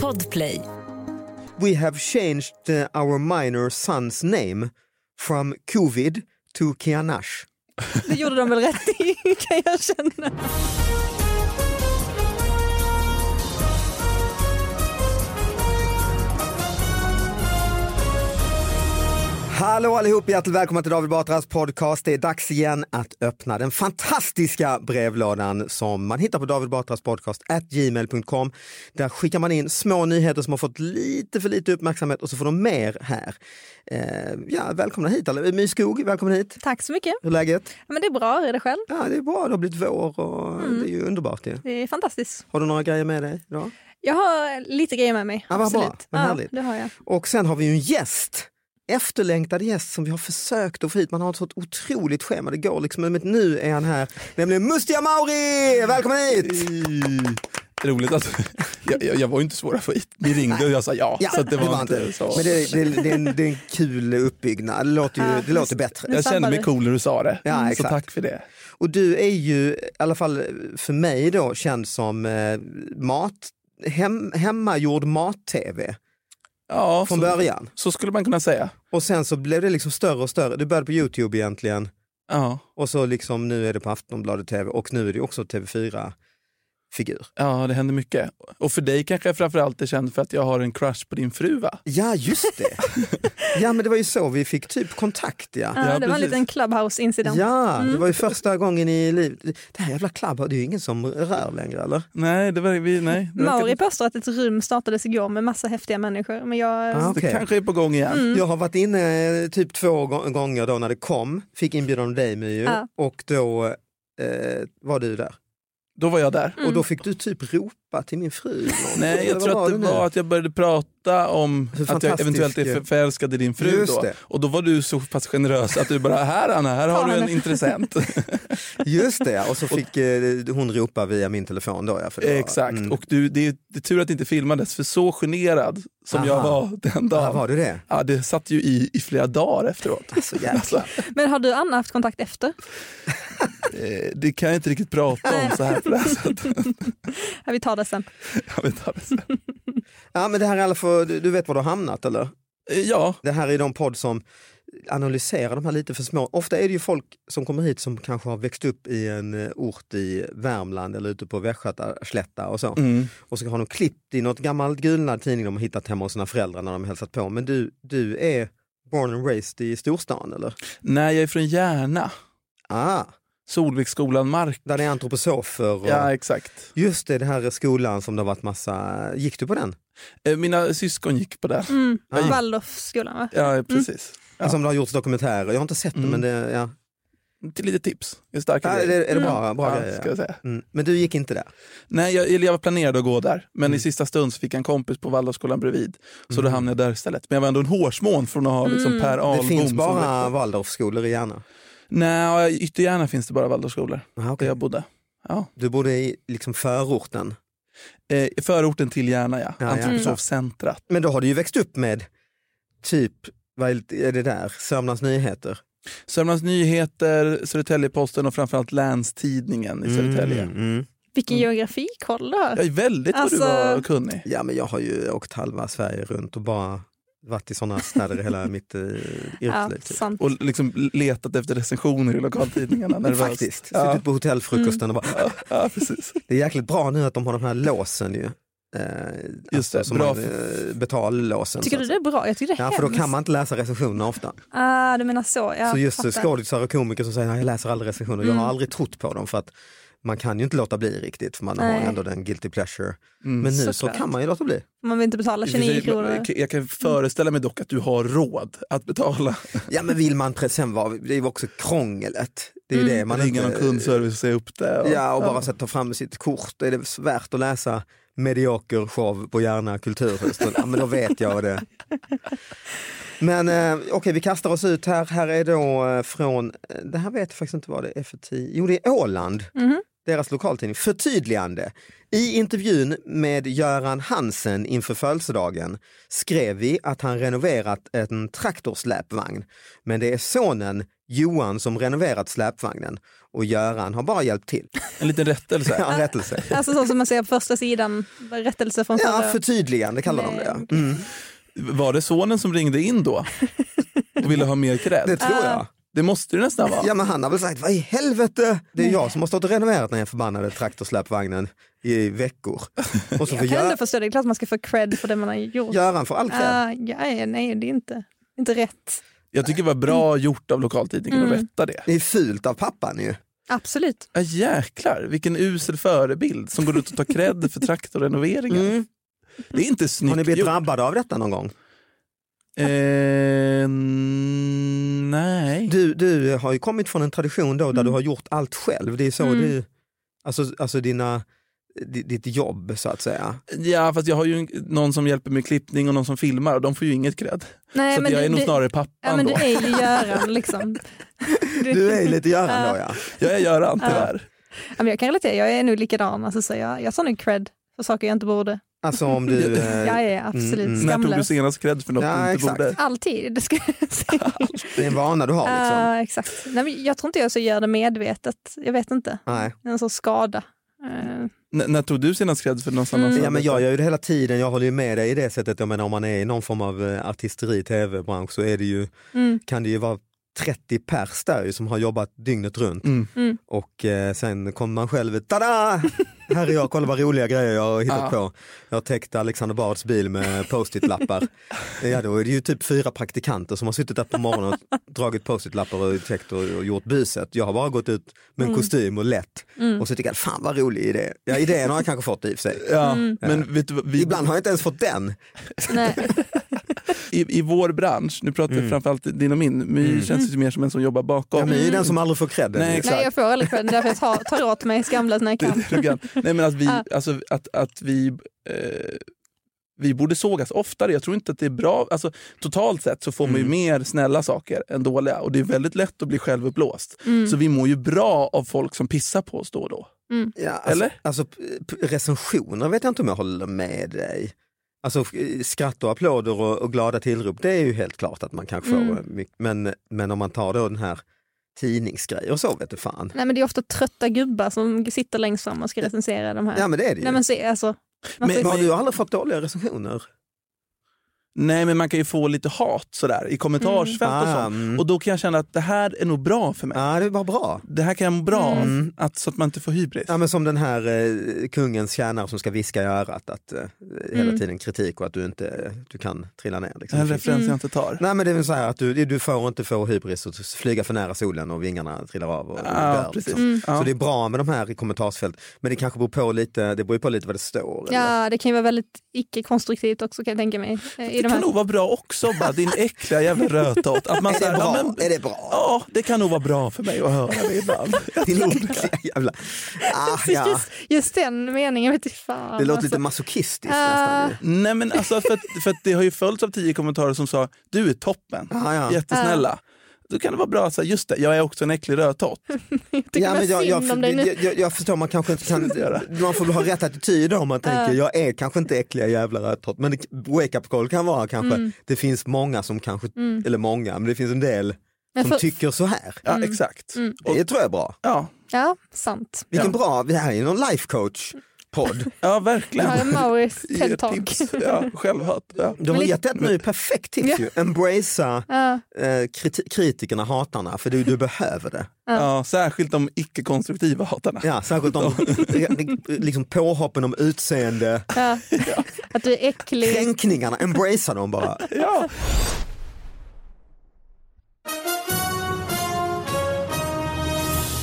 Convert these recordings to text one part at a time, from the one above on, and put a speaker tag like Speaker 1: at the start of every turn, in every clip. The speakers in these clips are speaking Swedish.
Speaker 1: Podplay.
Speaker 2: We have changed uh, our minor son's name from Covid to Kianash.
Speaker 1: Det gjorde de väl rätt i kan jag känna.
Speaker 2: Hallå allihop, hjärtligt välkomna till David Batras podcast. Det är dags igen att öppna den fantastiska brevlådan som man hittar på David Batras podcast at gmail.com. Där skickar man in små nyheter som har fått lite för lite uppmärksamhet och så får de mer här. Eh, ja, välkomna hit, alla. My Skog, välkommen hit.
Speaker 1: Tack så mycket.
Speaker 2: Hur är läget?
Speaker 1: Men det är bra, hur är det själv?
Speaker 2: Ja, det är bra, det har blivit vår och det är ju underbart. ju.
Speaker 1: Det är fantastiskt.
Speaker 2: Har du några grejer med dig idag?
Speaker 1: Jag har lite grejer med mig.
Speaker 2: Ja, vad bra.
Speaker 1: absolut.
Speaker 2: Vad
Speaker 1: ja,
Speaker 2: härligt.
Speaker 1: det har jag.
Speaker 2: Och sen har vi ju en gäst, efterlängtad gäst som vi har försökt att få hit. Man har ett sånt otroligt schema, det går liksom, men nu är han här. Nämligen Mustiga Mauri! Välkommen hit!
Speaker 3: Roligt att jag, jag, jag var ju inte svår att få hit. Ni ringde och jag sa ja. så att det var inte så.
Speaker 2: Men det, det, det, är en, det är en kul uppbyggnad, det låter, ju, det låter bättre.
Speaker 3: jag kände mig cool när du sa det.
Speaker 2: Ja,
Speaker 3: så
Speaker 2: exakt.
Speaker 3: tack för det.
Speaker 2: Och du är ju, i alla fall för mig då, känd som eh, mat, hem, hemmagjord mat-tv
Speaker 3: Ja,
Speaker 2: från
Speaker 3: så,
Speaker 2: början.
Speaker 3: så skulle man kunna säga.
Speaker 2: Och sen så blev det liksom större och större, du började på Youtube egentligen.
Speaker 3: Ja,
Speaker 2: Och så liksom nu är det på Aftonbladet TV och nu är det också TV4-figur.
Speaker 3: ja, det händer mycket. Och för dig kanske jag framförallt är känd för att jag har en crush på din fru va?
Speaker 2: Ja, just det. ja, men det var ju så vi fick typ kontakt. Ja,
Speaker 1: Ja,
Speaker 3: Ja,
Speaker 1: det var en
Speaker 3: precis.
Speaker 1: liten clubhouse-incident.
Speaker 2: ja det Mm. var ju första gången i livet. Det här jävla klubb, det är ju ingen som rör längre eller?
Speaker 3: Nej, det var vi, nej. det verkar-
Speaker 1: Mauri påstår att ett rum startades igår med massa häftiga människor. Men jag,
Speaker 2: Ah,
Speaker 3: Det
Speaker 2: okej.
Speaker 3: kanske är på gång igen.
Speaker 1: Mm.
Speaker 2: Jag har varit inne eh, typ två gå- gånger då när det kom, fick inbjudan av dig My, ju.
Speaker 1: Ja.
Speaker 2: och då eh, var du där.
Speaker 3: Då var jag där.
Speaker 2: Och då fick du typ ropa till min fru. någonting.
Speaker 3: Nej,
Speaker 2: Eller
Speaker 3: jag tror
Speaker 2: vad
Speaker 3: att det
Speaker 2: nu?
Speaker 3: var att jag började prata om
Speaker 2: Hur
Speaker 3: att jag
Speaker 2: fantastisk-
Speaker 3: eventuellt är för- förälskad i din fru
Speaker 2: Just
Speaker 3: då.
Speaker 2: det.
Speaker 3: Och då var du så pass generös att du bara, här Anna, här
Speaker 1: Ta
Speaker 3: har du en
Speaker 1: henne."
Speaker 3: intressent.
Speaker 2: Just det, ja. och så fick eh, hon ropa via min telefon då. Ja, för det var-
Speaker 3: Exakt,
Speaker 2: Mm.
Speaker 3: och du, det, är, det är tur att det inte filmades för så generad som jag
Speaker 2: Aha.
Speaker 3: var den dagen.
Speaker 2: Ja, var du det?
Speaker 3: Ja, det satt ju i, i flera dagar efteråt. Alltså,
Speaker 1: Men har du Anna haft kontakt efter?
Speaker 3: eh, det kan jag inte riktigt prata om så här på det här sättet.
Speaker 1: Ja, vi tar det sen.
Speaker 3: Jag vet inte alls.
Speaker 2: Ja, men det här är alla för, du du vet var du har hamnat eller?
Speaker 3: Eh, ja,
Speaker 2: Det här är de podd som analyserar de här lite för små. Ofta är det ju folk som kommer hit som kanske har växt upp i en eh, ort i Värmland eller ute på Västgötaslätta och så.
Speaker 3: Mm.
Speaker 2: Och så har de klippt i något gammalt gulnad tidning de har hittat hemma hos sina föräldrar när de hälsat på. Men du, du är born and raised i storstan eller?
Speaker 3: nej jag är från Järna,
Speaker 2: Ah,
Speaker 3: Solviksskolan Mark.
Speaker 2: där det är antroposofer. Och...
Speaker 3: Ja, exakt.
Speaker 2: Just det, det här är skolan som det har varit massa... Gick du på den?
Speaker 3: Eh, mina syskon gick på det.
Speaker 1: Mm.
Speaker 2: Ja.
Speaker 1: Waldorfskolan va?
Speaker 3: Ja, precis. Ja.
Speaker 2: Som det har gjorts dokumentärer. Jag har inte sett
Speaker 3: Mm.
Speaker 2: det men det, ja.
Speaker 3: Till lite tips. Det är starka
Speaker 2: Ja,
Speaker 3: grejer.
Speaker 2: det, är det bra, bra
Speaker 3: Mm. Ja,
Speaker 2: grejer?
Speaker 3: ska jag säga.
Speaker 2: Mm. Men du gick inte där?
Speaker 3: Nej, jag, eller jag var planerad att gå där, men
Speaker 2: Mm.
Speaker 3: i sista stund så fick jag en kompis på Waldorfskolan bredvid. Så
Speaker 2: Mm.
Speaker 3: då hamnade jag där istället. Men jag var ändå en hårsmån från att ha liksom,
Speaker 1: Mm.
Speaker 3: Per
Speaker 2: Det
Speaker 3: Ahlbom.
Speaker 2: finns
Speaker 3: som
Speaker 2: bara
Speaker 3: rektor.
Speaker 2: Waldorfskolor i Järna?
Speaker 3: Nej, i Ytterhärna finns det bara Waldorfskolor
Speaker 2: Aha,
Speaker 3: där
Speaker 2: Ah, okej.
Speaker 3: jag bodde. Ja.
Speaker 2: Du bodde i liksom förorten.
Speaker 3: Eh, i förorten till Järna, ja.
Speaker 2: ja.
Speaker 3: Antroposofcentrat.
Speaker 2: Men då har du ju växt upp med typ, vad är det där, Sörmlands Nyheter?
Speaker 3: Sörmlands Nyheter, Södertälje-Posten och framförallt Länstidningen i Södertälje.
Speaker 2: Mm, mm.
Speaker 1: Vilken geografikoll du har.
Speaker 3: Jag är väldigt vad du
Speaker 1: Alltså-
Speaker 3: var kunnig.
Speaker 2: Ja men jag har ju åkt halva Sverige runt och bara varit i sådana städer hela mitt eh,
Speaker 1: Ja,
Speaker 2: yrkesliv. typ.
Speaker 1: sant.
Speaker 3: Och liksom letat efter recensioner i lokaltidningarna.
Speaker 2: Men
Speaker 3: nervöst.
Speaker 2: faktiskt, suttit
Speaker 3: Ja, Mm.
Speaker 2: på hotellfrukosten och bara,
Speaker 3: ja, precis.
Speaker 2: det är jäkligt bra nu att de har de här låsen ju. Eh,
Speaker 3: Just det,
Speaker 2: som
Speaker 3: bra.
Speaker 2: man, eh, betallåsen.
Speaker 1: Tycker
Speaker 2: så
Speaker 1: du
Speaker 2: att
Speaker 1: det är bra? Jag tycker det är
Speaker 2: säga. Ja
Speaker 1: hemskt.
Speaker 2: för då kan man inte läsa recensioner ofta.
Speaker 1: Ah, du menar så. Ja,
Speaker 2: så just
Speaker 1: fattar. Mm.
Speaker 2: skådisar och komiker som säger "Nej, jag läser aldrig recensioner, jag har aldrig trott på dem för att man kan ju inte låta bli riktigt för man har
Speaker 1: Nej.
Speaker 2: ändå den guilty pleasure. Men nu så
Speaker 1: Såklart.
Speaker 2: kan man ju låta bli.
Speaker 1: Man vill inte betala 29 kronor.
Speaker 3: Jag kan föreställa mig dock att du har råd att betala.
Speaker 2: Ja men vill man pre- sen vara, det är ju också krånglet. Det är
Speaker 1: Mm.
Speaker 2: ju det man
Speaker 3: Ringa någon kundservice och säga upp det. Och,
Speaker 2: Ja och bara så att ta fram sitt kort, är det värt att läsa medioker show på Järna kulturhus? Då- Ja, men då vet jag vad det är. Men eh, okej, vi kastar oss ut här. Här är då eh, från, eh, det här vet jag faktiskt inte vad det är för tid. Jo, det är Åland, deras lokaltidning. Förtydligande. I intervjun med Göran Hansen inför födelsedagen skrev vi att han renoverat en traktorsläpvagn. Men det är sonen Johan som renoverat släpvagnen och Göran har bara hjälpt till.
Speaker 3: En liten rättelse.
Speaker 2: Ja, rättelse.
Speaker 1: Alltså så som man ser på första sidan, rättelse från
Speaker 2: Ja,
Speaker 1: förra.
Speaker 2: förtydligande kallar de det. ja. Mm,
Speaker 3: Var det sonen som ringde in då och ville ha mer
Speaker 2: det
Speaker 3: cred?
Speaker 2: tror jag.
Speaker 3: Det måste det nästan vara.
Speaker 2: Ja men han har väl sagt, vad i helvete, det är jag som har stått och renoverat den här förbannade traktorsläpvagnen i veckor. Och så får
Speaker 1: Jag kan ändå
Speaker 2: Gö-
Speaker 1: förstå, det är klart man ska få cred för det man har gjort.
Speaker 2: Göran får all cred.
Speaker 1: Ah, ja, nej, det är inte, inte rätt.
Speaker 3: Jag tycker det var bra gjort av lokaltidningen att rätta det.
Speaker 2: Det är fult av pappan ju.
Speaker 1: Absolut.
Speaker 3: Ja, jäklar, vilken usel förebild som går ut och tar cred för
Speaker 1: Mm.
Speaker 3: traktorrenoveringen. Det är inte
Speaker 2: Mm. Har ni
Speaker 3: snyggt
Speaker 2: blivit
Speaker 3: gjort.
Speaker 2: drabbade av detta någon gång?
Speaker 3: Eh, nej.
Speaker 2: Du, du har ju kommit från en tradition då där
Speaker 1: Mm.
Speaker 2: du har gjort allt själv. Det är så du, alltså, alltså dina, di- ditt jobb så att säga.
Speaker 3: Ja, fast jag har ju en- någon som hjälper med klippning och någon som filmar och de får ju inget cred.
Speaker 1: Nej,
Speaker 3: så att jag
Speaker 1: du-
Speaker 3: är nog
Speaker 1: du-
Speaker 3: snarare pappan
Speaker 1: Ja, men du
Speaker 3: då.
Speaker 1: är ju Göran liksom.
Speaker 2: Du är ju lite Göran då ja.
Speaker 3: Jag är Göran tyvärr.
Speaker 1: Ja, men jag kan relatera, jag är nog likadan. Alltså, så jag, jag tar nog cred för saker jag inte borde.
Speaker 2: Alltså om du... eh,
Speaker 1: Jag är absolut
Speaker 2: mm.
Speaker 3: När tog du
Speaker 1: skamlös.
Speaker 3: senast cred för något
Speaker 2: Ja,
Speaker 3: du inte
Speaker 2: exakt.
Speaker 3: borde?
Speaker 1: Alltid, det ska jag säga.
Speaker 2: Det är en vana du har liksom.
Speaker 1: Ah, exakt. Nej, men jag tror inte jag så gör det medvetet. Jag vet inte.
Speaker 2: Nej.
Speaker 1: En sån skada. Eh,
Speaker 3: N- när tog du senast cred för något annat?
Speaker 2: Mm. Ja, men jag gör ju det hela tiden, jag håller ju med dig i det sättet. Jag menar, om man är i någon form av eh, artisteri, tv-bransch så är det ju, kan det ju vara 30 pers där ju, som har jobbat dygnet runt. Och eh, sen kommer man själv ut, tada! Här är jag, kolla vad roliga grejer jag har hittat på. Jag har täckt Alexander Bards bil med post-it-lappar. ja, då är det ju typ fyra praktikanter som har suttit där på morgonen och dragit post-it-lappar och täckt och, och gjort buset. Jag har bara gått ut med en kostym och lätt och så tycker jag, fan vad rolig idé. Ja, idén har jag kanske fått i och för sig.
Speaker 3: Ja,
Speaker 1: Mm.
Speaker 3: men vet du, vad, vi,
Speaker 2: Ibland har jag inte ens fått den.
Speaker 1: nej.
Speaker 3: i, I vår bransch, nu pratar jag framförallt din och min, My känns ju mer som en som jobbar bakom.
Speaker 2: Mm. Ja, men det är den som aldrig får cred.
Speaker 3: Nej,
Speaker 2: Nej,
Speaker 3: exakt.
Speaker 1: nej, jag får aldrig cred. Det är därför jag tar, tar åt mig skamlöst när jag
Speaker 3: Det-
Speaker 1: kan.
Speaker 3: det är lite grann. Nej men att vi, alltså, att, att vi, eh, vi borde sågas oftare. Jag tror inte att det är bra. Alltså, totalt sett så får man ju
Speaker 2: Mm.
Speaker 3: mer snälla saker än dåliga och det är väldigt lätt att bli självuppblåst. Så vi mår ju bra av folk som pissar på oss då och då.
Speaker 2: ja, alltså,
Speaker 3: Eller?
Speaker 2: Alltså, p- p- recensioner vet jag inte om jag håller med dig. Alltså f- skratt och applåder och, och glada tillrop, det är ju helt klart att man kanske får eh, mycket. Men, men om man tar då den här tidningsgrejer och så vet du fan.
Speaker 1: Nej, men det är ofta trötta gubbar som sitter längst fram och ska recensera de här.
Speaker 2: Ja men det är det ju.
Speaker 1: Nej, men så, är- alltså, man
Speaker 3: Men-
Speaker 1: får-
Speaker 2: Men har du aldrig fått dåliga recensioner?
Speaker 3: Nej men man kan ju få lite hat sådär i kommentarsfält och
Speaker 2: Ah,
Speaker 3: sånt.
Speaker 2: mm. Ah.
Speaker 3: Och då kan jag känna att det här är nog bra för mig.
Speaker 2: Ja det var bra.
Speaker 3: Det här kan jag må bra av, att, så att man inte får hybris.
Speaker 2: Mm. Ja, men som den här eh, kungens tjänare som ska viska i örat att eh, hela tiden kritik och att du inte du kan trilla ner. Liksom.
Speaker 3: en referens jag inte tar.
Speaker 2: Nej men det är väl så här att du, du får inte få hybris och flyga för nära solen och vingarna trillar av och och
Speaker 3: Ja,
Speaker 2: dör.
Speaker 3: precis.
Speaker 2: Liksom.
Speaker 3: Mm.
Speaker 2: Så
Speaker 3: Ja.
Speaker 2: det är bra med de här i kommentarsfält. Men det kanske beror på lite, det beror ju på lite vad det står. eller?
Speaker 1: ja, det kan ju vara väldigt icke-konstruktivt också kan jag tänka mig. eh, I de
Speaker 3: Det kan
Speaker 1: här.
Speaker 3: nog vara bra också, bara, din äckliga jävla rötot. Att man
Speaker 2: Är, det
Speaker 3: såhär, ja,
Speaker 2: bra?
Speaker 3: men-
Speaker 2: är det bra?
Speaker 3: Ja, det kan nog vara bra för mig att höra det ibland.
Speaker 2: Din äckliga jävla... Ah, ja.
Speaker 1: Just, just den meningen vet jag fan.
Speaker 2: Det låter
Speaker 1: alltså.
Speaker 2: lite masochistiskt
Speaker 1: Ja.
Speaker 2: nästan. ju.
Speaker 3: Nej men alltså för att, för att det har ju följts av tio kommentarer som sa du är toppen,
Speaker 2: Ah, Ja, ja.
Speaker 3: jättesnälla. Då kan det vara bra att säga, just det, jag är också en äcklig rödtott.
Speaker 1: Jag tycker bara
Speaker 2: jag,
Speaker 1: synd
Speaker 2: jag,
Speaker 1: om dig nu.
Speaker 2: jag, jag, jag förstår, man kanske inte kan...
Speaker 3: göra.
Speaker 2: Man får väl ha rätt attityder om man tänker, jag är kanske inte äckliga jävla rödtott. Men det- wake-up call kan vara kanske,
Speaker 1: Mm.
Speaker 2: det finns många som kanske, eller många, men det finns en del
Speaker 1: Men
Speaker 2: som
Speaker 1: för- Mm.
Speaker 2: tycker så här.
Speaker 3: Ja, exakt.
Speaker 2: Det tror jag är bra.
Speaker 3: Ja,
Speaker 1: Ja, sant.
Speaker 2: Vilken bra, det här är ju någon life coach podd.
Speaker 3: ja
Speaker 1: Jag
Speaker 3: verkligen.
Speaker 1: har en Mauris
Speaker 3: Ge
Speaker 1: TED-talk.
Speaker 3: tips. Ja, självhat. Ja.
Speaker 2: De har gett ett nu perfekt tips ju, embracea
Speaker 1: Ja.
Speaker 2: eh, kriti- kritikerna, hatarna, för du, du behöver det.
Speaker 3: Ja, särskilt de icke-konstruktiva hatarna.
Speaker 2: Ja, särskilt de liksom påhoppen om utseende,
Speaker 1: Ja. Att du är äcklig.
Speaker 2: kränkningarna, embracea dem bara.
Speaker 3: Ja.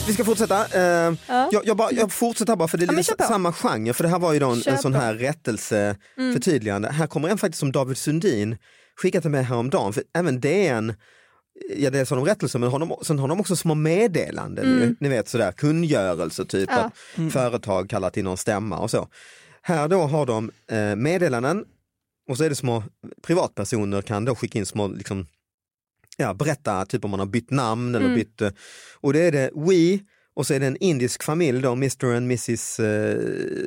Speaker 2: Vi ska fortsätta. Eh, jag, jag, bara, jag fortsätter bara för det är
Speaker 1: Ja, men
Speaker 2: lite
Speaker 1: kör på.
Speaker 2: samma genre. För det här var ju då en,
Speaker 1: Kör
Speaker 2: en sån
Speaker 1: på. Mm.
Speaker 2: här rättelse, förtydligande. Här kommer en faktiskt som David Sundin skickat till mig häromdagen. För även DN, ja dels har de rättelse men har de, sen har de också små meddelanden. Ju,
Speaker 1: Mm.
Speaker 2: ni vet sådär kungörelse typ att företag kallar till någon stämma och så. Här då har de eh, meddelanden och så är det små privatpersoner kan då skicka in små liksom, ja, berätta typ om man har bytt namn eller bytt. eh, Och det är det We och så är det en indisk familj då, Mr and Mrs, eh,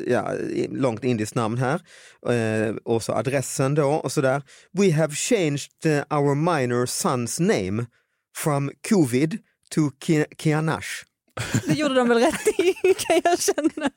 Speaker 2: ja, i- långt indiskt namn här. Eh, och så adressen då och sådär. We have changed eh, our minor son's name from covid to Ki- Kianash.
Speaker 1: Det gjorde de väl rätt i kan jag känna.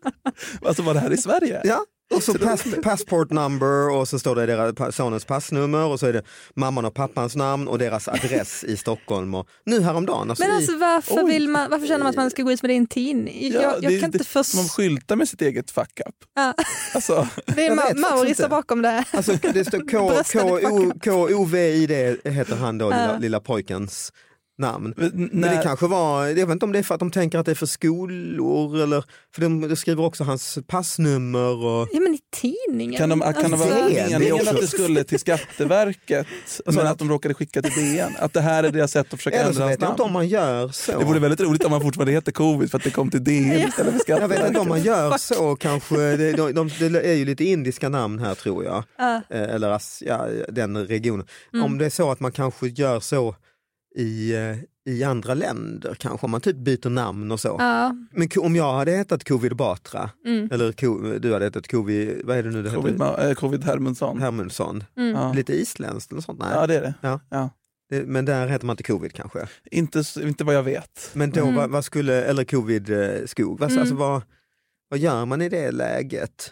Speaker 3: Alltså var det här i Sverige?
Speaker 2: Ja, och så pass, passport number och så står det deras, pa- sonens passnummer och så är det mamman och pappans namn och deras adress i Stockholm. Och nu häromdagen. Alltså
Speaker 1: Men
Speaker 2: i-
Speaker 1: alltså varför,
Speaker 3: Oj.
Speaker 1: vill man, varför känner man att man ska gå ut med det i en tidning? Jag, jag
Speaker 3: det-
Speaker 1: kan inte
Speaker 3: det- Man
Speaker 1: förstå.
Speaker 3: skyltar med sitt eget fuck-up.
Speaker 1: Ja.
Speaker 3: Alltså,
Speaker 1: Det är
Speaker 2: Jag vet
Speaker 1: Ma-
Speaker 2: faktiskt
Speaker 1: Mauri
Speaker 2: inte.
Speaker 1: står bakom det här.
Speaker 2: Alltså, det står K-
Speaker 1: Brösten är
Speaker 2: K- K- K-O-V-I-D heter han då, lilla, lilla pojkens namn.
Speaker 3: n-
Speaker 2: Men det
Speaker 3: när-
Speaker 2: kanske var, jag vet inte om det är för att de tänker att det är för skolor eller, för de, de skriver också hans passnummer och
Speaker 1: Ja men i tidningen.
Speaker 3: Kan, de, kan det vara
Speaker 2: Alltså, det är
Speaker 3: meningen
Speaker 2: också-
Speaker 3: att det skulle till Skatteverket men att de råkade skicka till DN? Att det här är deras sätt att försöka
Speaker 2: eller
Speaker 3: ändra
Speaker 2: så
Speaker 3: hans
Speaker 2: vet jag
Speaker 3: namn?
Speaker 2: inte om man gör så.
Speaker 3: Det vore väldigt roligt om man fortfarande heter covid för att det kom till DN istället för
Speaker 2: jag vet inte om
Speaker 3: Skatteverket.
Speaker 2: man gör så kanske, det, de, de, det är ju lite indiska namn här tror jag, Eh, eller as, ja, den regionen. Om det är så att man kanske gör så i, eh, i andra länder kanske, om man typ byter namn och så.
Speaker 1: Ja,
Speaker 2: Men ko- om jag hade hetat Covid Batra, eller ko- du hade hetat Covid, vad är det nu det
Speaker 3: Covid,
Speaker 2: heter?
Speaker 3: ma- eh, covid Hermundsson.
Speaker 2: Hermundsson.
Speaker 3: Ja.
Speaker 2: Lite isländskt eller sånt? Nej.
Speaker 3: ja, det är det.
Speaker 2: Ja.
Speaker 3: Ja.
Speaker 2: Det- Men där heter man inte Covid kanske.
Speaker 3: Inte, s- inte vad jag vet.
Speaker 2: Men då, vad, vad skulle, eller Covid eh, Skog, vad, alltså, vad, vad gör man i det läget?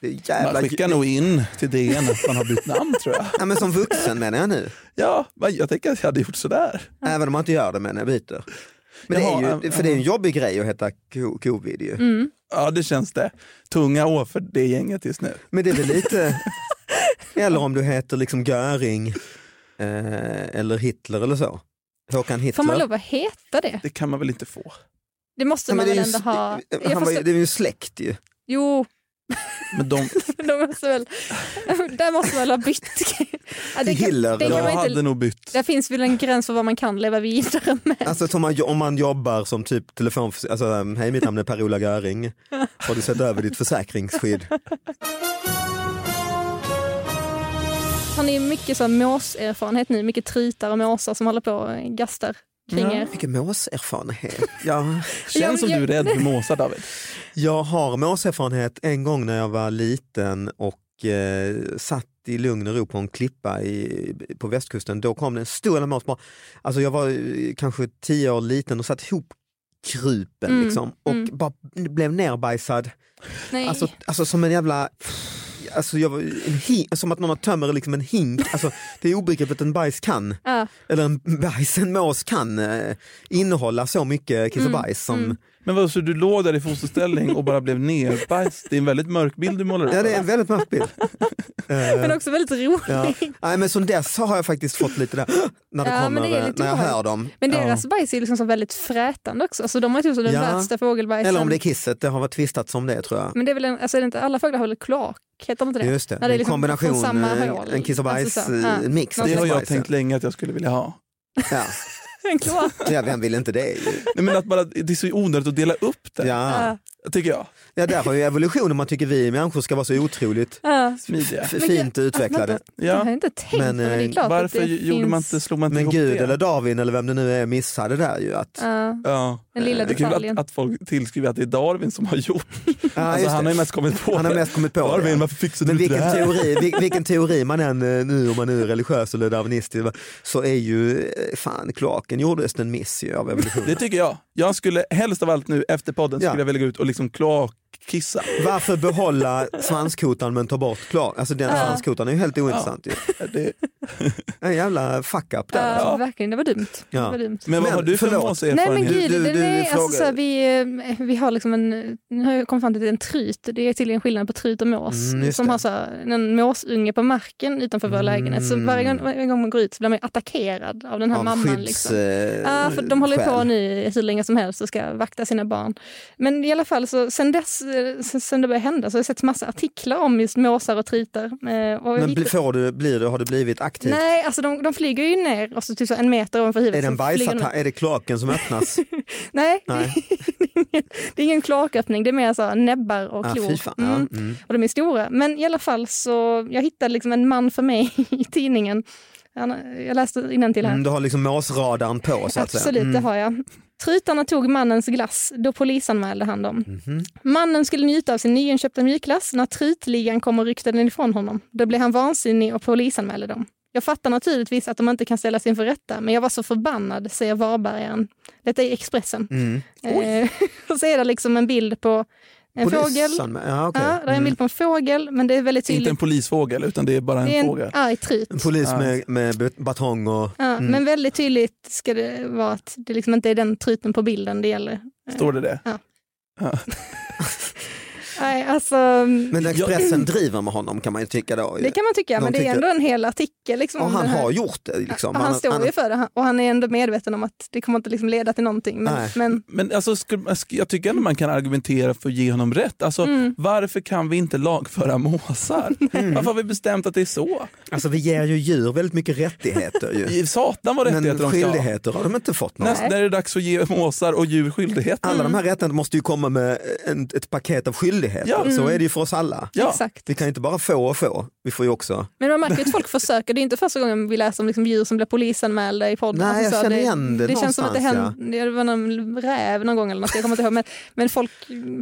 Speaker 2: Det är jävla...
Speaker 3: Man skickar nog in till DN att man har bytt namn tror jag.
Speaker 2: ja, men som vuxen menar jag nu,
Speaker 3: Ja, men jag tänker att jag hade gjort sådär.
Speaker 2: även om man inte gör det men jag byter. Men
Speaker 3: Jaha,
Speaker 2: det är ju,
Speaker 3: äm-
Speaker 2: för det är ju en jobbig grej att heta ko- covid ju.
Speaker 1: Mm.
Speaker 3: Ja, det känns det. Tunga år för det gänget just nu.
Speaker 2: Men det är väl lite, eller om du heter liksom Göring eh, eller Hitler eller så. Håkan Hitler.
Speaker 1: får man lov att heta det?
Speaker 3: Det kan man väl inte få?
Speaker 1: Det måste
Speaker 2: Nej,
Speaker 1: man
Speaker 2: men
Speaker 1: väl
Speaker 2: det är ju
Speaker 1: ändå
Speaker 2: s-
Speaker 1: ha?
Speaker 2: eh,
Speaker 1: Jag
Speaker 2: Han var, ju-
Speaker 1: förstår-
Speaker 2: det är ju släkt ju.
Speaker 1: Jo,
Speaker 3: Men de,
Speaker 1: de måste väl, där måste man väl ha bytt. Ja, det, kan,
Speaker 2: Hiller,
Speaker 1: det, kan
Speaker 2: eller?
Speaker 3: jag
Speaker 1: man
Speaker 3: hade
Speaker 1: inte,
Speaker 3: nog bytt.
Speaker 1: det finns väl en gräns för vad man kan leva vidare med.
Speaker 2: Alltså som man, om man jobbar som typ telefon, alltså um, hej mitt namn är Per-Ola Göring, har du sett över ditt försäkringsskydd?
Speaker 1: Har ni mycket så här måserfarenhet nu? Mycket tritar och måsar som håller på och gastar kring er?
Speaker 2: Vilken måserfarenhet. Jag,
Speaker 3: Känns som du är rädd för måsar David.
Speaker 2: jag har måserfarenhet en gång när jag var liten och eh, satt i lugn och ro på en klippa i, på västkusten. Då kom det en stor jävla morsbra. Alltså jag var eh, kanske tio år liten och satt ihop krupen
Speaker 1: Mm,
Speaker 2: liksom och
Speaker 1: mm.
Speaker 2: bara blev nerbajsad.
Speaker 1: Nej.
Speaker 2: Alltså, alltså som en jävla... Alltså jag var, en hink, som att någon har tömmer liksom en hink. Alltså, det är obegripligt att en bajs kan,
Speaker 1: Ja.
Speaker 2: eller en bajs, en mås kan eh, innehålla så mycket kiss och
Speaker 1: Mm,
Speaker 2: bajs som
Speaker 3: Men vad, så du låg där i fosterställning och bara blev nerbajst? Det är en väldigt mörk bild du målar upp.
Speaker 2: Ja, det är en väldigt mörk bild.
Speaker 1: Men också väldigt roligt.
Speaker 2: eh, Ja. Nej, men som dess har jag faktiskt fått lite där när, det
Speaker 1: Ja, men
Speaker 2: kommer, eh,
Speaker 1: det är lite
Speaker 2: när jag
Speaker 1: obehagligt.
Speaker 2: hör dem.
Speaker 1: Men deras bajs är liksom så väldigt frätande också. Alltså de har ju typ så den
Speaker 2: Ja.
Speaker 1: värsta fågelbajsen.
Speaker 2: Eller om det är kisset, det har varit tvistats om det tror jag.
Speaker 1: Men det är väl en, alltså är det inte, alla fåglar har väl kloak? Heter de inte det?
Speaker 2: Just det,
Speaker 1: När
Speaker 2: en
Speaker 1: liksom
Speaker 2: kombination,
Speaker 1: från samma
Speaker 2: eh,
Speaker 1: hål.
Speaker 2: en kiss och bajs,
Speaker 1: Alltså så, ja.
Speaker 2: eh, mix.
Speaker 3: Det
Speaker 1: Någon
Speaker 3: har
Speaker 1: slags-
Speaker 3: jag tänkt länge att jag skulle vilja ha.
Speaker 2: Ja.
Speaker 1: En kloak.
Speaker 2: Ja, vem vill inte det?
Speaker 3: Nej, men att bara, det är så onödigt att dela upp det,
Speaker 2: Ja.
Speaker 3: tycker jag.
Speaker 2: ja, där har ju evolutionen, man tycker vi människor ska vara så otroligt
Speaker 1: Ja. alltså,
Speaker 3: Smidiga.
Speaker 2: f- fint utvecklade.
Speaker 1: Jag har
Speaker 3: Ja.
Speaker 1: inte tänkt
Speaker 2: Men,
Speaker 1: men, men det
Speaker 2: eh,
Speaker 1: är klart
Speaker 3: Varför
Speaker 1: att det
Speaker 3: gjorde
Speaker 1: finns...
Speaker 3: man inte, slog man inte
Speaker 2: Men
Speaker 3: ihop
Speaker 2: Gud
Speaker 3: det?
Speaker 2: eller Darwin eller vem det nu är missade där ju att...
Speaker 1: Ja.
Speaker 3: Ja.
Speaker 1: Den lilla
Speaker 3: det är kul
Speaker 1: detaljen.
Speaker 3: att, att folk tillskriver att det är Darwin som har gjort
Speaker 2: Ja,
Speaker 3: alltså,
Speaker 2: just
Speaker 3: han
Speaker 2: det.
Speaker 3: har ju mest kommit på
Speaker 2: Han har
Speaker 3: det.
Speaker 2: mest kommit på det,
Speaker 3: Darwin,
Speaker 2: ja.
Speaker 3: varför fixade
Speaker 2: Men
Speaker 3: du inte det
Speaker 2: vilken
Speaker 3: här?
Speaker 2: teori, vil- vilken teori man än eh, nu, om man nu är religiös eller darwinistisk, va, så är ju eh, fan kloaken gjordes en miss ju av evolutionen.
Speaker 3: Det tycker jag. Jag skulle helst av allt nu efter podden
Speaker 2: Ja.
Speaker 3: skulle jag vilja gå ut och liksom kloakkissa.
Speaker 2: Varför behålla svanskotan men ta bort kloaken? Alltså den svanskotan är ju helt ointressant ju.
Speaker 3: Det,
Speaker 2: En jävla fuck up där.
Speaker 1: Ja,
Speaker 2: alltså.
Speaker 1: Verkligen, det var dumt.
Speaker 2: Ja.
Speaker 1: Det var dumt.
Speaker 3: men vad
Speaker 2: Men,
Speaker 3: har du för
Speaker 2: förlåt.
Speaker 1: Nej men
Speaker 3: måserfarenhet?
Speaker 1: gud,
Speaker 2: Du-
Speaker 1: den
Speaker 2: du
Speaker 1: är, alltså,
Speaker 2: frågar-
Speaker 1: så här, vi, eh, vi har liksom en, nu har jag kommit fram till att det är en tryt, det är tydligen skillnad på tryt och mås,
Speaker 2: Mm, just
Speaker 1: som
Speaker 2: det.
Speaker 1: har så här, en måsunge på marken utanför vår lägenhet. Så varje gång, varje gång man går ut så blir man ju attackerad av den här
Speaker 2: Mm. Av
Speaker 1: mamman.
Speaker 2: skydds,
Speaker 1: liksom.
Speaker 2: eh,
Speaker 1: Ja, för de håller ju på
Speaker 2: skäl.
Speaker 1: nu hur länge som helst och ska vakta sina barn. Men i alla fall, så, sen, dess, eh, sen, sen det började hända så har jag sett massa artiklar om just måsar och tritar. Eh, och jag
Speaker 2: Men
Speaker 1: hittade-
Speaker 2: bli- får du, blir du, har du blivit aktiv?
Speaker 1: Nej, alltså de, de flyger ju ner och så typ så en meter ovanför huvudet.
Speaker 2: Är det, en
Speaker 1: så flyger de
Speaker 2: bajsatta- är det kloaken som öppnas?
Speaker 1: Nej,
Speaker 2: Nej.
Speaker 1: det är ingen kloaköppning, det är mer så här näbbar och
Speaker 2: Ah,
Speaker 1: klor.
Speaker 2: fy fan. Ja,
Speaker 1: Mm.
Speaker 2: mm.
Speaker 1: Och de är stora. Men i alla fall så, jag hittade liksom en man för mig i tidningen. Han- Jag läste innantill här.
Speaker 2: Mm, du har liksom måsradaren på så att säga. Mm.
Speaker 1: Absolut,
Speaker 3: Mm.
Speaker 1: det har jag. Trytarna tog mannens glass, då polisanmälde han dem.
Speaker 3: Mhm.
Speaker 1: Mannen skulle njuta av sin nyinköpta mjukglass när trytligan kom och ryckte den ifrån honom. Då blev han vansinnig och polisanmälde dem. Jag fattar naturligtvis att de inte kan ställas inför rätta, men jag var så förbannad, säger Varbergaren. Detta är Expressen.
Speaker 2: Mm.
Speaker 1: Eh, och så är det liksom en bild på en fågel.
Speaker 2: Polisanmä- Ja, okej.
Speaker 1: Ja, det är en bild på en fågel, men det är väldigt
Speaker 3: Inte en
Speaker 1: tydligt.
Speaker 3: polisfågel utan det är bara en,
Speaker 1: Det är en
Speaker 3: fågel. Mm.
Speaker 1: arg tryt.
Speaker 2: En polis med, med batong och...
Speaker 1: Ja, Men väldigt tydligt ska det vara att det liksom inte är den tryten på bilden det gäller.
Speaker 3: Står det det?
Speaker 1: Nej, alltså,
Speaker 2: Men Expressen driver med honom kan man ju tycka då.
Speaker 1: det kan man tycka,
Speaker 2: De
Speaker 1: men det är
Speaker 2: tycker-
Speaker 1: ändå en hel artikel. Liksom,
Speaker 2: och
Speaker 1: om
Speaker 2: han
Speaker 1: den här.
Speaker 2: har gjort det. Liksom.
Speaker 1: Ja, han,
Speaker 2: Han-
Speaker 1: står
Speaker 2: han-
Speaker 1: ju för det han- och han är ändå medveten om att det kommer inte liksom leda till någonting. Men,
Speaker 2: Nej.
Speaker 1: men
Speaker 3: Men alltså, skulle- sk- jag tycker ändå man kan argumentera för att ge honom rätt. Alltså,
Speaker 1: Mm.
Speaker 3: Varför kan vi inte lagföra måsar? Varför har vi bestämt att det är så?
Speaker 2: Alltså vi ger ju djur väldigt mycket rättigheter ju.
Speaker 3: I Satan vad rättigheter
Speaker 2: Men
Speaker 3: de ska ha.
Speaker 2: skyldigheter har de inte fått några.
Speaker 3: Näst, när är det dags att ge måsar och djur skyldigheter?
Speaker 2: Alla de
Speaker 1: Mm.
Speaker 2: här rättigheterna måste ju komma med en, ett paket av skyldigheter.
Speaker 3: Ja.
Speaker 2: Så
Speaker 1: Mm.
Speaker 2: är det ju för oss alla.
Speaker 3: Ja.
Speaker 1: exakt.
Speaker 2: Vi kan ju inte bara få och få, vi får ju också.
Speaker 1: Men man märker ju att folk försöker. Det är inte första gången vi läser om liksom djur som blir polisanmälda i podden. Alltså,
Speaker 2: Nej, jag
Speaker 1: så
Speaker 2: känner igen det
Speaker 1: Det känns som att det
Speaker 2: någonstans,
Speaker 1: hände, det var någon räv någon gång eller något, jag kommer inte ihåg. Men, men folk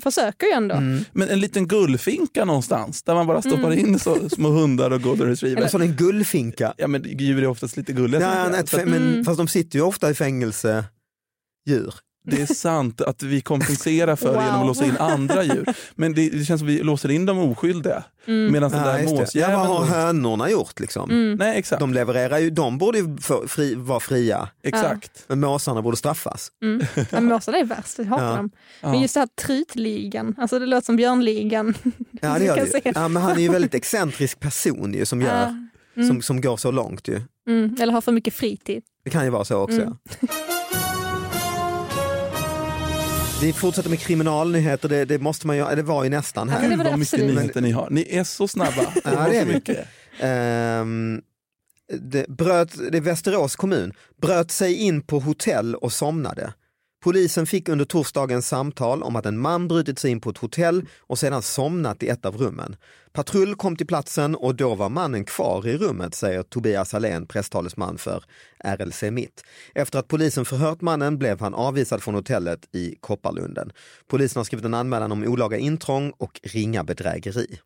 Speaker 1: försöker ju ändå.
Speaker 2: Mm.
Speaker 3: Men en liten gullfinka någonstans där man bara stoppar
Speaker 1: Mm.
Speaker 3: in så, små hundar och golden
Speaker 2: En
Speaker 3: retriever.
Speaker 2: sån en gullfinka.
Speaker 3: Ja, men djur är oftast lite gulliga. tänker
Speaker 2: Nej,
Speaker 3: jag.
Speaker 2: nej,
Speaker 3: Så att
Speaker 2: men,
Speaker 1: Mm.
Speaker 2: Fast de sitter ju ofta i fängelse, djur.
Speaker 3: det är sant att vi kompenserar för
Speaker 1: Wow.
Speaker 3: genom att låsa in andra djur. Men det, det känns som att vi låser in de oskyldiga.
Speaker 1: Mm.
Speaker 3: Medan den
Speaker 2: Ja,
Speaker 3: Alltså, där
Speaker 2: just det. ja, vad har
Speaker 3: måsjäveln...
Speaker 2: hönorna gjort liksom?
Speaker 3: Nej, exakt.
Speaker 2: De levererar ju, de borde ju få- fri, vara fria,
Speaker 3: exakt.
Speaker 2: men måsarna borde straffas.
Speaker 1: Mm. Ja, Måsarna är värst, jag hatar
Speaker 2: Ja.
Speaker 1: dem. Men just det här trytligan, alltså det låter som björnligan.
Speaker 2: Ja, det
Speaker 1: Du
Speaker 2: gör
Speaker 1: kan
Speaker 2: det ju.
Speaker 1: se.
Speaker 2: ja, men han är ju en väldigt excentrisk person ju, som, gör, som, som går så långt. Ju.
Speaker 1: Mm. Eller har för mycket fritid.
Speaker 2: Det kan ju vara så också.
Speaker 1: Mm.
Speaker 2: ja. Vi fortsätter med kriminalnyheter, det, det måste man ju, det var ju nästan här.
Speaker 1: Ja, det var det
Speaker 3: Vad mycket
Speaker 1: absolut.
Speaker 3: nyheter ni har. Ni är så snabba.
Speaker 2: Ja, det är
Speaker 3: så
Speaker 2: vi.
Speaker 3: mycket.
Speaker 2: Ehm, det, bröt, det är Västerås kommun, bröt sig in på hotell och somnade. Polisen fick under torsdagens samtal om att en man brutit sig in på ett hotell och sedan somnat i ett av rummen. Patrull kom till platsen och då var mannen kvar i rummet, säger Tobias Allén, presstalesman för RLC Mitt. Efter att polisen förhört mannen blev han avvisad från hotellet i Kopparlunden. Polisen har skrivit en anmälan om olaga intrång och ringa bedrägeri.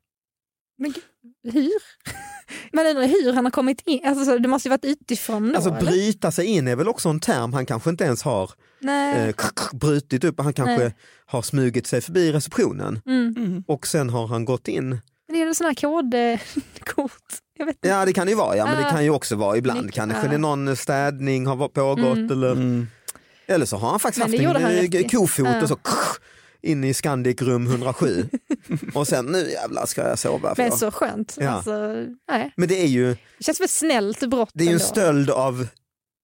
Speaker 1: Men gud, hur? Men ändå hur han har kommit in, alltså, så det måste ju varit utifrån då.
Speaker 2: Alltså
Speaker 1: eller?
Speaker 2: bryta sig in är väl också en term han kanske inte ens har
Speaker 1: Nej.
Speaker 2: eh, brutit upp, han kanske
Speaker 1: Nej.
Speaker 2: har smugit sig förbi receptionen
Speaker 1: Mm.
Speaker 2: och sen har han gått in.
Speaker 1: Men det är väl sådana här kodkort? Jag vet inte.
Speaker 2: Ja det kan det ju vara, ja, men det
Speaker 1: Ah.
Speaker 2: kan ju också vara ibland
Speaker 1: Mycket,
Speaker 2: kanske
Speaker 1: ah.
Speaker 2: det är någon eh, städning har va- pågått eller, eller så har han faktiskt
Speaker 1: Men det
Speaker 2: haft
Speaker 1: gjorde
Speaker 2: en
Speaker 1: han
Speaker 2: eh,
Speaker 1: rätt i.
Speaker 2: kofot
Speaker 1: Ah.
Speaker 2: och så in i Scandic rum 107 och sen nu jävlar ska jag sova. För
Speaker 1: Men
Speaker 2: jag.
Speaker 1: så skönt.
Speaker 2: Ja.
Speaker 1: Alltså, nej.
Speaker 2: Men det är ju
Speaker 1: Det känns väl snällt brott
Speaker 2: Det är ju en
Speaker 1: ändå.
Speaker 2: stöld av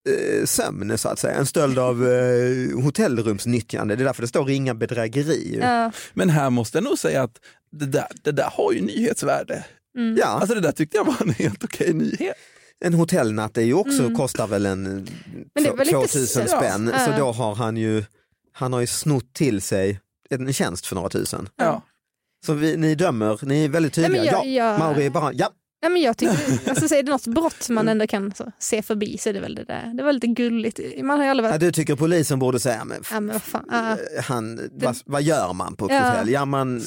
Speaker 2: eh, sömn så att säga, en stöld av eh, hotellrumsnyttjande. Det är därför det står ringa bedrägeri. Ja.
Speaker 1: Ja.
Speaker 3: Men här måste jag nog säga att det där, det där har ju nyhetsvärde. Alltså det där tyckte jag var en helt okej nyhet.
Speaker 2: en hotellnatt är ju också, kostar väl en
Speaker 1: Mm. det är
Speaker 2: två-
Speaker 1: väl lite
Speaker 2: 2000
Speaker 1: sö-
Speaker 2: spänn.
Speaker 1: ja.
Speaker 2: Så då har han ju, han har ju snott till sig en tjänst för några tusen.
Speaker 3: Ja.
Speaker 2: Så vi, ni dömer, ni är väldigt tydliga.
Speaker 1: Nej, men jag-
Speaker 2: ja,
Speaker 1: jag-
Speaker 2: Mauri är bara, ja.
Speaker 1: Ja, men jag tycker, alltså, så är det något brott
Speaker 2: Mm.
Speaker 1: man ändå kan så, se förbi så är det väl det där. Det var lite gulligt. Man har ju aldrig
Speaker 2: ja,
Speaker 1: varit...
Speaker 2: du tycker polisen borde säga, men, f-
Speaker 1: Ja, men vad fan. Ja.
Speaker 2: han, vad, vad gör man på ett
Speaker 1: Ja.
Speaker 2: hotell? Ja, man,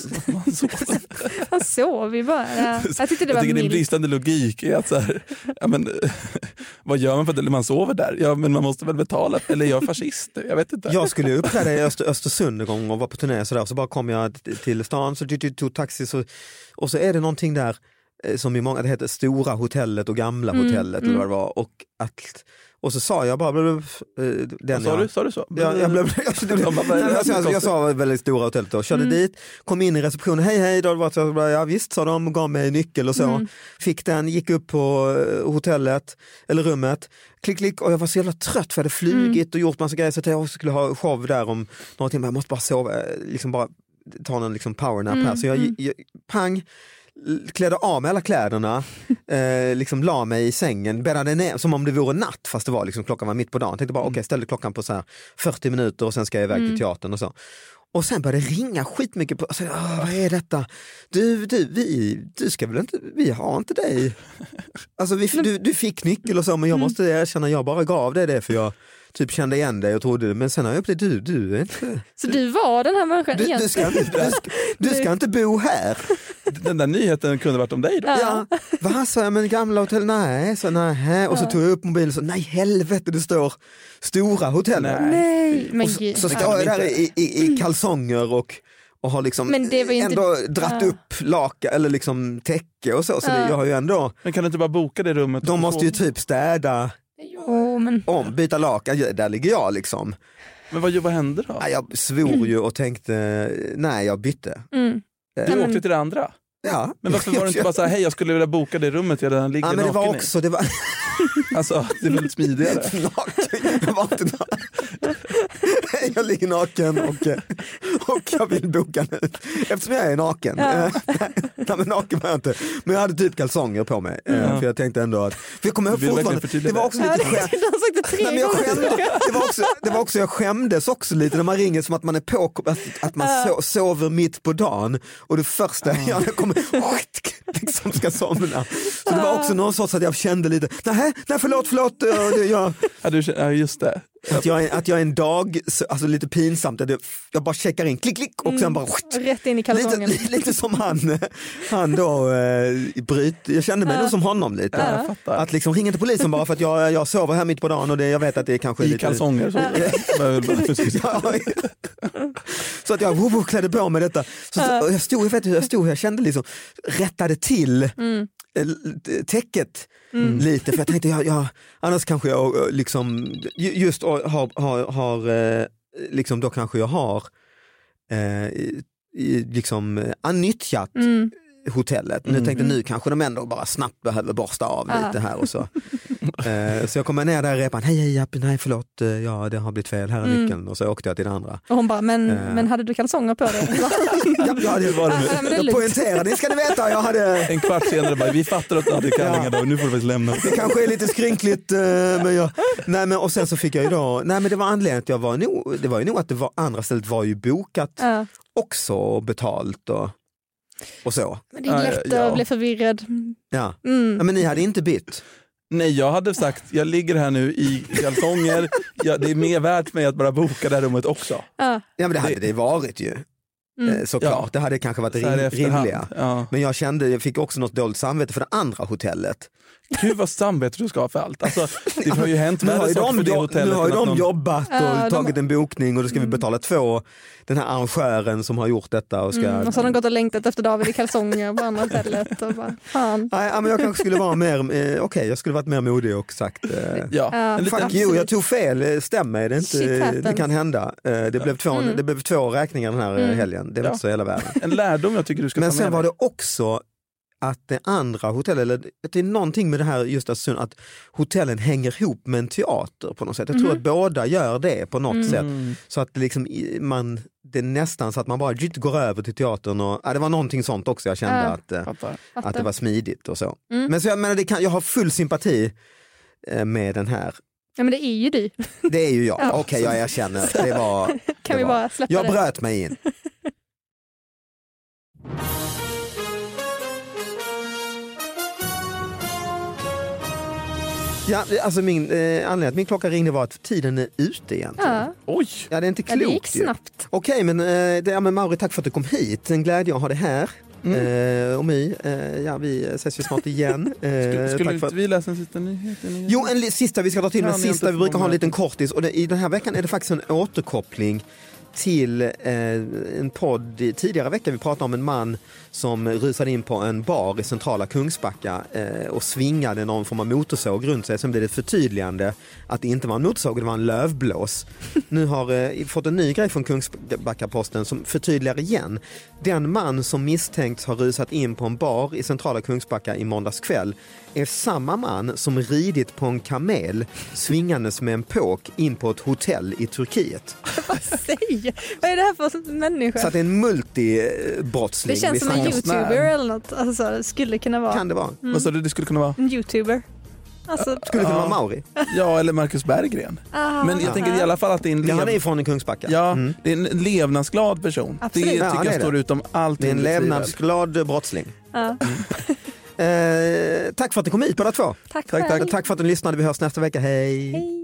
Speaker 1: Han sov ju bara. Ja. Jag tyckte det var
Speaker 3: jag tycker det är en
Speaker 1: milt.
Speaker 3: bristande logik. i Att så här, ja, men, vad gör man för att man sover där? Ja, men man måste väl betala. Eller är jag fascist nu? Jag vet inte.
Speaker 2: Jag skulle ju uppträda i Öster, Östersund en gång och var på turné och sådär, så bara kom jag t- till stan, så t- t- tog taxi så, och så är det någonting där eh, som i många, det heter Stora hotellet och Gamla
Speaker 3: Mm,
Speaker 2: hotellet eller vad det var. Och, att, och så sa jag bara, blub, blub, eh, den
Speaker 3: Vad Sa
Speaker 2: jag-
Speaker 3: du, sa du så?
Speaker 2: Ja, jag, blev, jag,
Speaker 3: Ja, men vad är det här för
Speaker 2: alltså, jag, jag
Speaker 3: konstigt?
Speaker 2: sa väldigt stora hotellet då, körde dit, kom in i receptionen, hej hej, då, var så, ja visst sa de, och gav mig nyckel och så. Fick den, gick upp på eh, hotellet, eller rummet, klick klick och jag var så jävla trött för jag hade flugit och gjort massa grejer så jag tänkte jag skulle ha show där om några timmar, jag måste bara sova, eh, liksom bara ta någon liksom powernap här. Så jag, jag pang, l- klädde av mig alla kläderna, eh, liksom la mig i sängen, bäddade ner som om det vore natt fast det var liksom, klockan var mitt på dagen. Tänkte bara okej, ställde klockan på så här 40 minuter och sen ska jag iväg till teatern och så. Och sen började det ringa skitmycket på, och så, "Åh, vad är detta? Du, du, vi, du ska väl inte, vi har inte dig. Alltså vi, du, du fick nyckel och så men jag måste erkänna, jag bara gav dig det för jag typ kände igen dig och trodde, men sen har jag upptäckt, du, du är inte,
Speaker 1: Så du var den här människan
Speaker 2: du, du, ska,
Speaker 1: egentligen?
Speaker 2: inte- du, ska, du ska inte bo här.
Speaker 3: Den där nyheten kunde varit om dig då.
Speaker 2: Ja. Va, sa jag, men gamla hotell, nej, så nej. Och så tog jag upp mobilen och sa, nej helvete det står stora hotell.
Speaker 1: Nej, men
Speaker 2: Och så,
Speaker 1: gud.
Speaker 2: så står jag där i, i, i kalsonger och, och har liksom
Speaker 1: Men det var ju inte-
Speaker 2: ändå dratt
Speaker 1: Ja.
Speaker 2: upp laka eller liksom täcke och så. så det, jag har ju ändå,
Speaker 3: Men kan du inte bara boka det rummet?
Speaker 2: de
Speaker 3: och
Speaker 2: måste ju
Speaker 3: sova?
Speaker 2: typ städa
Speaker 1: Jo, men...
Speaker 2: om, byta lakan, Ja, där ligger jag liksom.
Speaker 3: Men vad, vad hände då?
Speaker 2: Nej, jag svor ju och tänkte, nej jag bytte.
Speaker 1: Mm.
Speaker 3: Du
Speaker 1: men-
Speaker 3: åkte till det andra.
Speaker 2: Ja.
Speaker 3: Men varför var det inte bara så här, hej jag skulle vilja boka det rummet jag redan ligger
Speaker 2: Ja, men det var
Speaker 3: naken i"?
Speaker 2: också, det var,
Speaker 3: Alltså, det är väldigt smidigare.
Speaker 2: naken. Jag, var inte naken. jag ligger naken och, eh, och jag vill boka nu. Eftersom jag är naken. Eh, Nej, men naken var jag inte. Men jag hade typ kalsonger på mig. eh, För jag tänkte ändå att... För jag kommer ihåg
Speaker 3: Du vill verkligen
Speaker 2: fortfarande,
Speaker 3: förtydliga
Speaker 2: det var
Speaker 3: det.
Speaker 2: också
Speaker 1: Ja,
Speaker 2: lite
Speaker 1: det,
Speaker 2: skämt.
Speaker 1: de har sagt det tre
Speaker 2: Nej, men jag,
Speaker 1: gånger.
Speaker 2: skämde, det, var också, det var också, jag skämdes också lite när man ringer som att man är på, att, att man so, sover mitt på dagen och det första jag gör när jag kommer liksom ska somna. Så det var också någon sorts att jag kände lite, nej, nej förlåt, förlåt, eh, det- jag,
Speaker 3: Ja, du, ja just det.
Speaker 2: att jag, är- att jag är en dag, så- alltså lite pinsamt, att jag- jag bara checkar in, klick klick och
Speaker 3: Mm.
Speaker 2: sen bara
Speaker 1: Rätt in i
Speaker 2: lite,
Speaker 1: kalsongen.
Speaker 2: li- lite som han, eh, han då, eh, bryt, jag kände mig nog som honom lite.
Speaker 3: Ja, jag fattar.
Speaker 2: Att liksom ringa till polisen bara för att jag, jag sover här mitt på dagen och det, jag vet att det är kanske
Speaker 3: I
Speaker 2: lite...
Speaker 3: kalsonger. Så. Men jag vill bara-
Speaker 2: Ja, så att jag wo, wo, klädde på mig detta. Så, så, och jag stod, jag vet hur jag stod, jag kände liksom, rättade till eh, täcket lite för jag tänkte, jag, jag, annars kanske jag eh, liksom, ju- just eh, har, har, har eh, liksom då kanske jag har eh, i- i- liksom eh, annyttjat hotellet. Men jag tänkte nu kanske de ändå bara snabbt behöver borsta av lite här och så. Eh, så jag kommer ner där i repan, hej hej, japp, nej förlåt, eh, ja det har blivit fel, här är nyckeln och så åkte jag till det andra.
Speaker 1: Och hon bara, men,
Speaker 2: Eh.
Speaker 1: men hade du kalsonger på dig?
Speaker 2: Ja, ja, det var
Speaker 1: Ja, ja, men det är
Speaker 2: det. Jag
Speaker 1: lugnt.
Speaker 2: poängterade, det ska ni veta, jag hade,
Speaker 3: En kvart senare bara, vi fattar att du hade kallingar då, nu får du faktiskt lämna.
Speaker 2: det kanske är lite skrynkligt eh, men jag, nej men och sen så fick jag ju då, nej men det var anledningen att jag var nog, det var ju nog att det var, andra stället var ju bokat
Speaker 1: Ja.
Speaker 2: också och betalt och, och så.
Speaker 1: Men det är
Speaker 3: Ja,
Speaker 1: lätt
Speaker 3: ja.
Speaker 1: att bli förvirrad.
Speaker 2: Ja.
Speaker 1: Mm.
Speaker 2: ja men ni hade inte bytt.
Speaker 3: Nej, jag hade sagt, jag ligger här nu i kalsonger, jag, det är mer värt mig att bara boka det här rummet också.
Speaker 1: Ja.
Speaker 2: Ja men det hade det varit ju. Eh, Såklart,
Speaker 3: Ja.
Speaker 2: det hade kanske varit
Speaker 3: Så här i
Speaker 2: rim-
Speaker 3: efterhand.
Speaker 2: rimliga.
Speaker 3: Ja.
Speaker 2: Men jag kände, jag fick också något dåligt samvete för det andra hotellet.
Speaker 3: Gud vad samvete du ska ha för allt. Alltså, det har ju hänt
Speaker 2: Nu har
Speaker 3: värre
Speaker 2: ju
Speaker 3: saker
Speaker 2: de,
Speaker 3: för det
Speaker 2: jo- nu
Speaker 3: hotellet.
Speaker 2: har ju
Speaker 3: än att
Speaker 2: de
Speaker 3: någon-
Speaker 2: jobbat och
Speaker 1: Ja, de- Mm.
Speaker 2: tagit en bokning och då ska vi betala två, den här arrangören som har gjort detta. Och ska...
Speaker 1: Mm, och så har de gått och längtat efter David i kalsonger på andra hotellet. Och bara, fan.
Speaker 2: Nej, ja, men jag kanske skulle vara mer, eh, okej jag skulle varit mer modig och sagt eh,
Speaker 3: Ja, en liten,
Speaker 2: Fuck you, jag tog fel, eh, stäm mig, det, är
Speaker 1: Shit
Speaker 2: inte,
Speaker 1: happens. Mm.
Speaker 2: det kan hända. Eh, Det blev två, det blev två räkningar den här eh, helgen, det var
Speaker 3: Ja.
Speaker 2: inte så hela världen.
Speaker 3: en lärdom jag tycker du ska
Speaker 2: Men
Speaker 3: ta med
Speaker 2: sen var
Speaker 3: dig.
Speaker 2: det också att det andra hotellet, eller att det är någonting med det här just att, att hotellen hänger ihop med en teater på något sätt. Jag tror
Speaker 1: Mm.
Speaker 2: att båda gör det på något
Speaker 3: Mm,
Speaker 2: sätt. Så att det, liksom, i- man, det är nästan så att man bara jitt, går över till teatern. Och, ja, det var någonting sånt också jag kände
Speaker 1: Ja.
Speaker 2: att, eh,
Speaker 3: Fattar.
Speaker 2: att det
Speaker 1: Fattar. Mm.
Speaker 2: var smidigt och så. Men så jag, menar, det kan, jag har full sympati eh, med den här.
Speaker 1: Ja, men det är ju du.
Speaker 2: Det är ju jag,
Speaker 1: Ja.
Speaker 2: okej jag erkänner. Det var, det
Speaker 1: Kan vi
Speaker 2: var.
Speaker 1: bara släppa
Speaker 2: Jag
Speaker 1: det?
Speaker 2: bröt mig in. Ja, alltså min, eh, anledningen att min klocka ringde var att tiden är ute egentligen. Ja,
Speaker 1: Ja.
Speaker 3: Oj!
Speaker 2: det är inte
Speaker 1: Ja,
Speaker 2: klokt.
Speaker 1: det gick
Speaker 2: ju.
Speaker 1: snabbt.
Speaker 2: Okej, men, eh, det, ja, men Mauri, tack för att du kom hit. En glädje att ha dig här.
Speaker 3: Mm.
Speaker 2: Eh, och My, eh, ja, vi ses ju snart igen. Eh,
Speaker 3: Skulle,
Speaker 2: tack
Speaker 3: skulle
Speaker 2: för
Speaker 3: inte
Speaker 2: att-
Speaker 3: vi läsa en liten nyhet? En nyhet?
Speaker 2: Jo, en li- sista vi ska dra till med.
Speaker 3: Ja, ni har
Speaker 2: Sista,
Speaker 3: inte
Speaker 2: vi brukar ha en
Speaker 3: förmåga.
Speaker 2: liten kortis och det, i den här veckan är det faktiskt en återkoppling till eh, en podd i- tidigare vecka. Vi pratade om en man som rusade in på en bar i centrala Kungsbacka eh, och svingade någon form av motorsåg runt sig. Sen blev det ett förtydligande att det inte var en motorsåg, det var en lövblås. Nu har eh, fått en ny grej från Kungsbacka-posten som förtydligar igen. Den man som misstänks ha rusat in på en bar i centrala Kungsbacka i måndags kväll är samma man som ridit på en kamel svingandes med en påk in på ett hotell i Turkiet.
Speaker 1: Vad säger Vad är det här för människa?
Speaker 2: Så att det är en multibrottsling
Speaker 1: det känns som en
Speaker 2: snackar om.
Speaker 3: konstnär.
Speaker 1: youtuber eller något. Alltså, det skulle kunna vara
Speaker 2: Kan det vara?
Speaker 3: Vad sa du, det skulle kunna vara?
Speaker 1: en youtuber. Alltså,
Speaker 2: Skulle det kunna
Speaker 3: Ja.
Speaker 2: vara Mauri?
Speaker 3: Ja, eller Marcus Berggren. Men jag tänker i alla fall att det är en, Mm.
Speaker 2: Ja, han är
Speaker 3: lev...
Speaker 2: ifrån Kungsbacka.
Speaker 3: ja, det är en levnadsglad person.
Speaker 1: Absolut.
Speaker 3: Det
Speaker 1: Ja,
Speaker 3: tycker
Speaker 2: han är det.
Speaker 3: jag står utom allt
Speaker 2: Det är en
Speaker 3: tvivel.
Speaker 2: levnadsglad brottsling.
Speaker 1: Ja.
Speaker 2: Mm. eh, tack för att ni kom hit båda två.
Speaker 1: tack,
Speaker 3: Tack,
Speaker 1: själv.
Speaker 2: Och tack för att ni lyssnade. Vi hörs nästa vecka. Hej.
Speaker 1: Hej.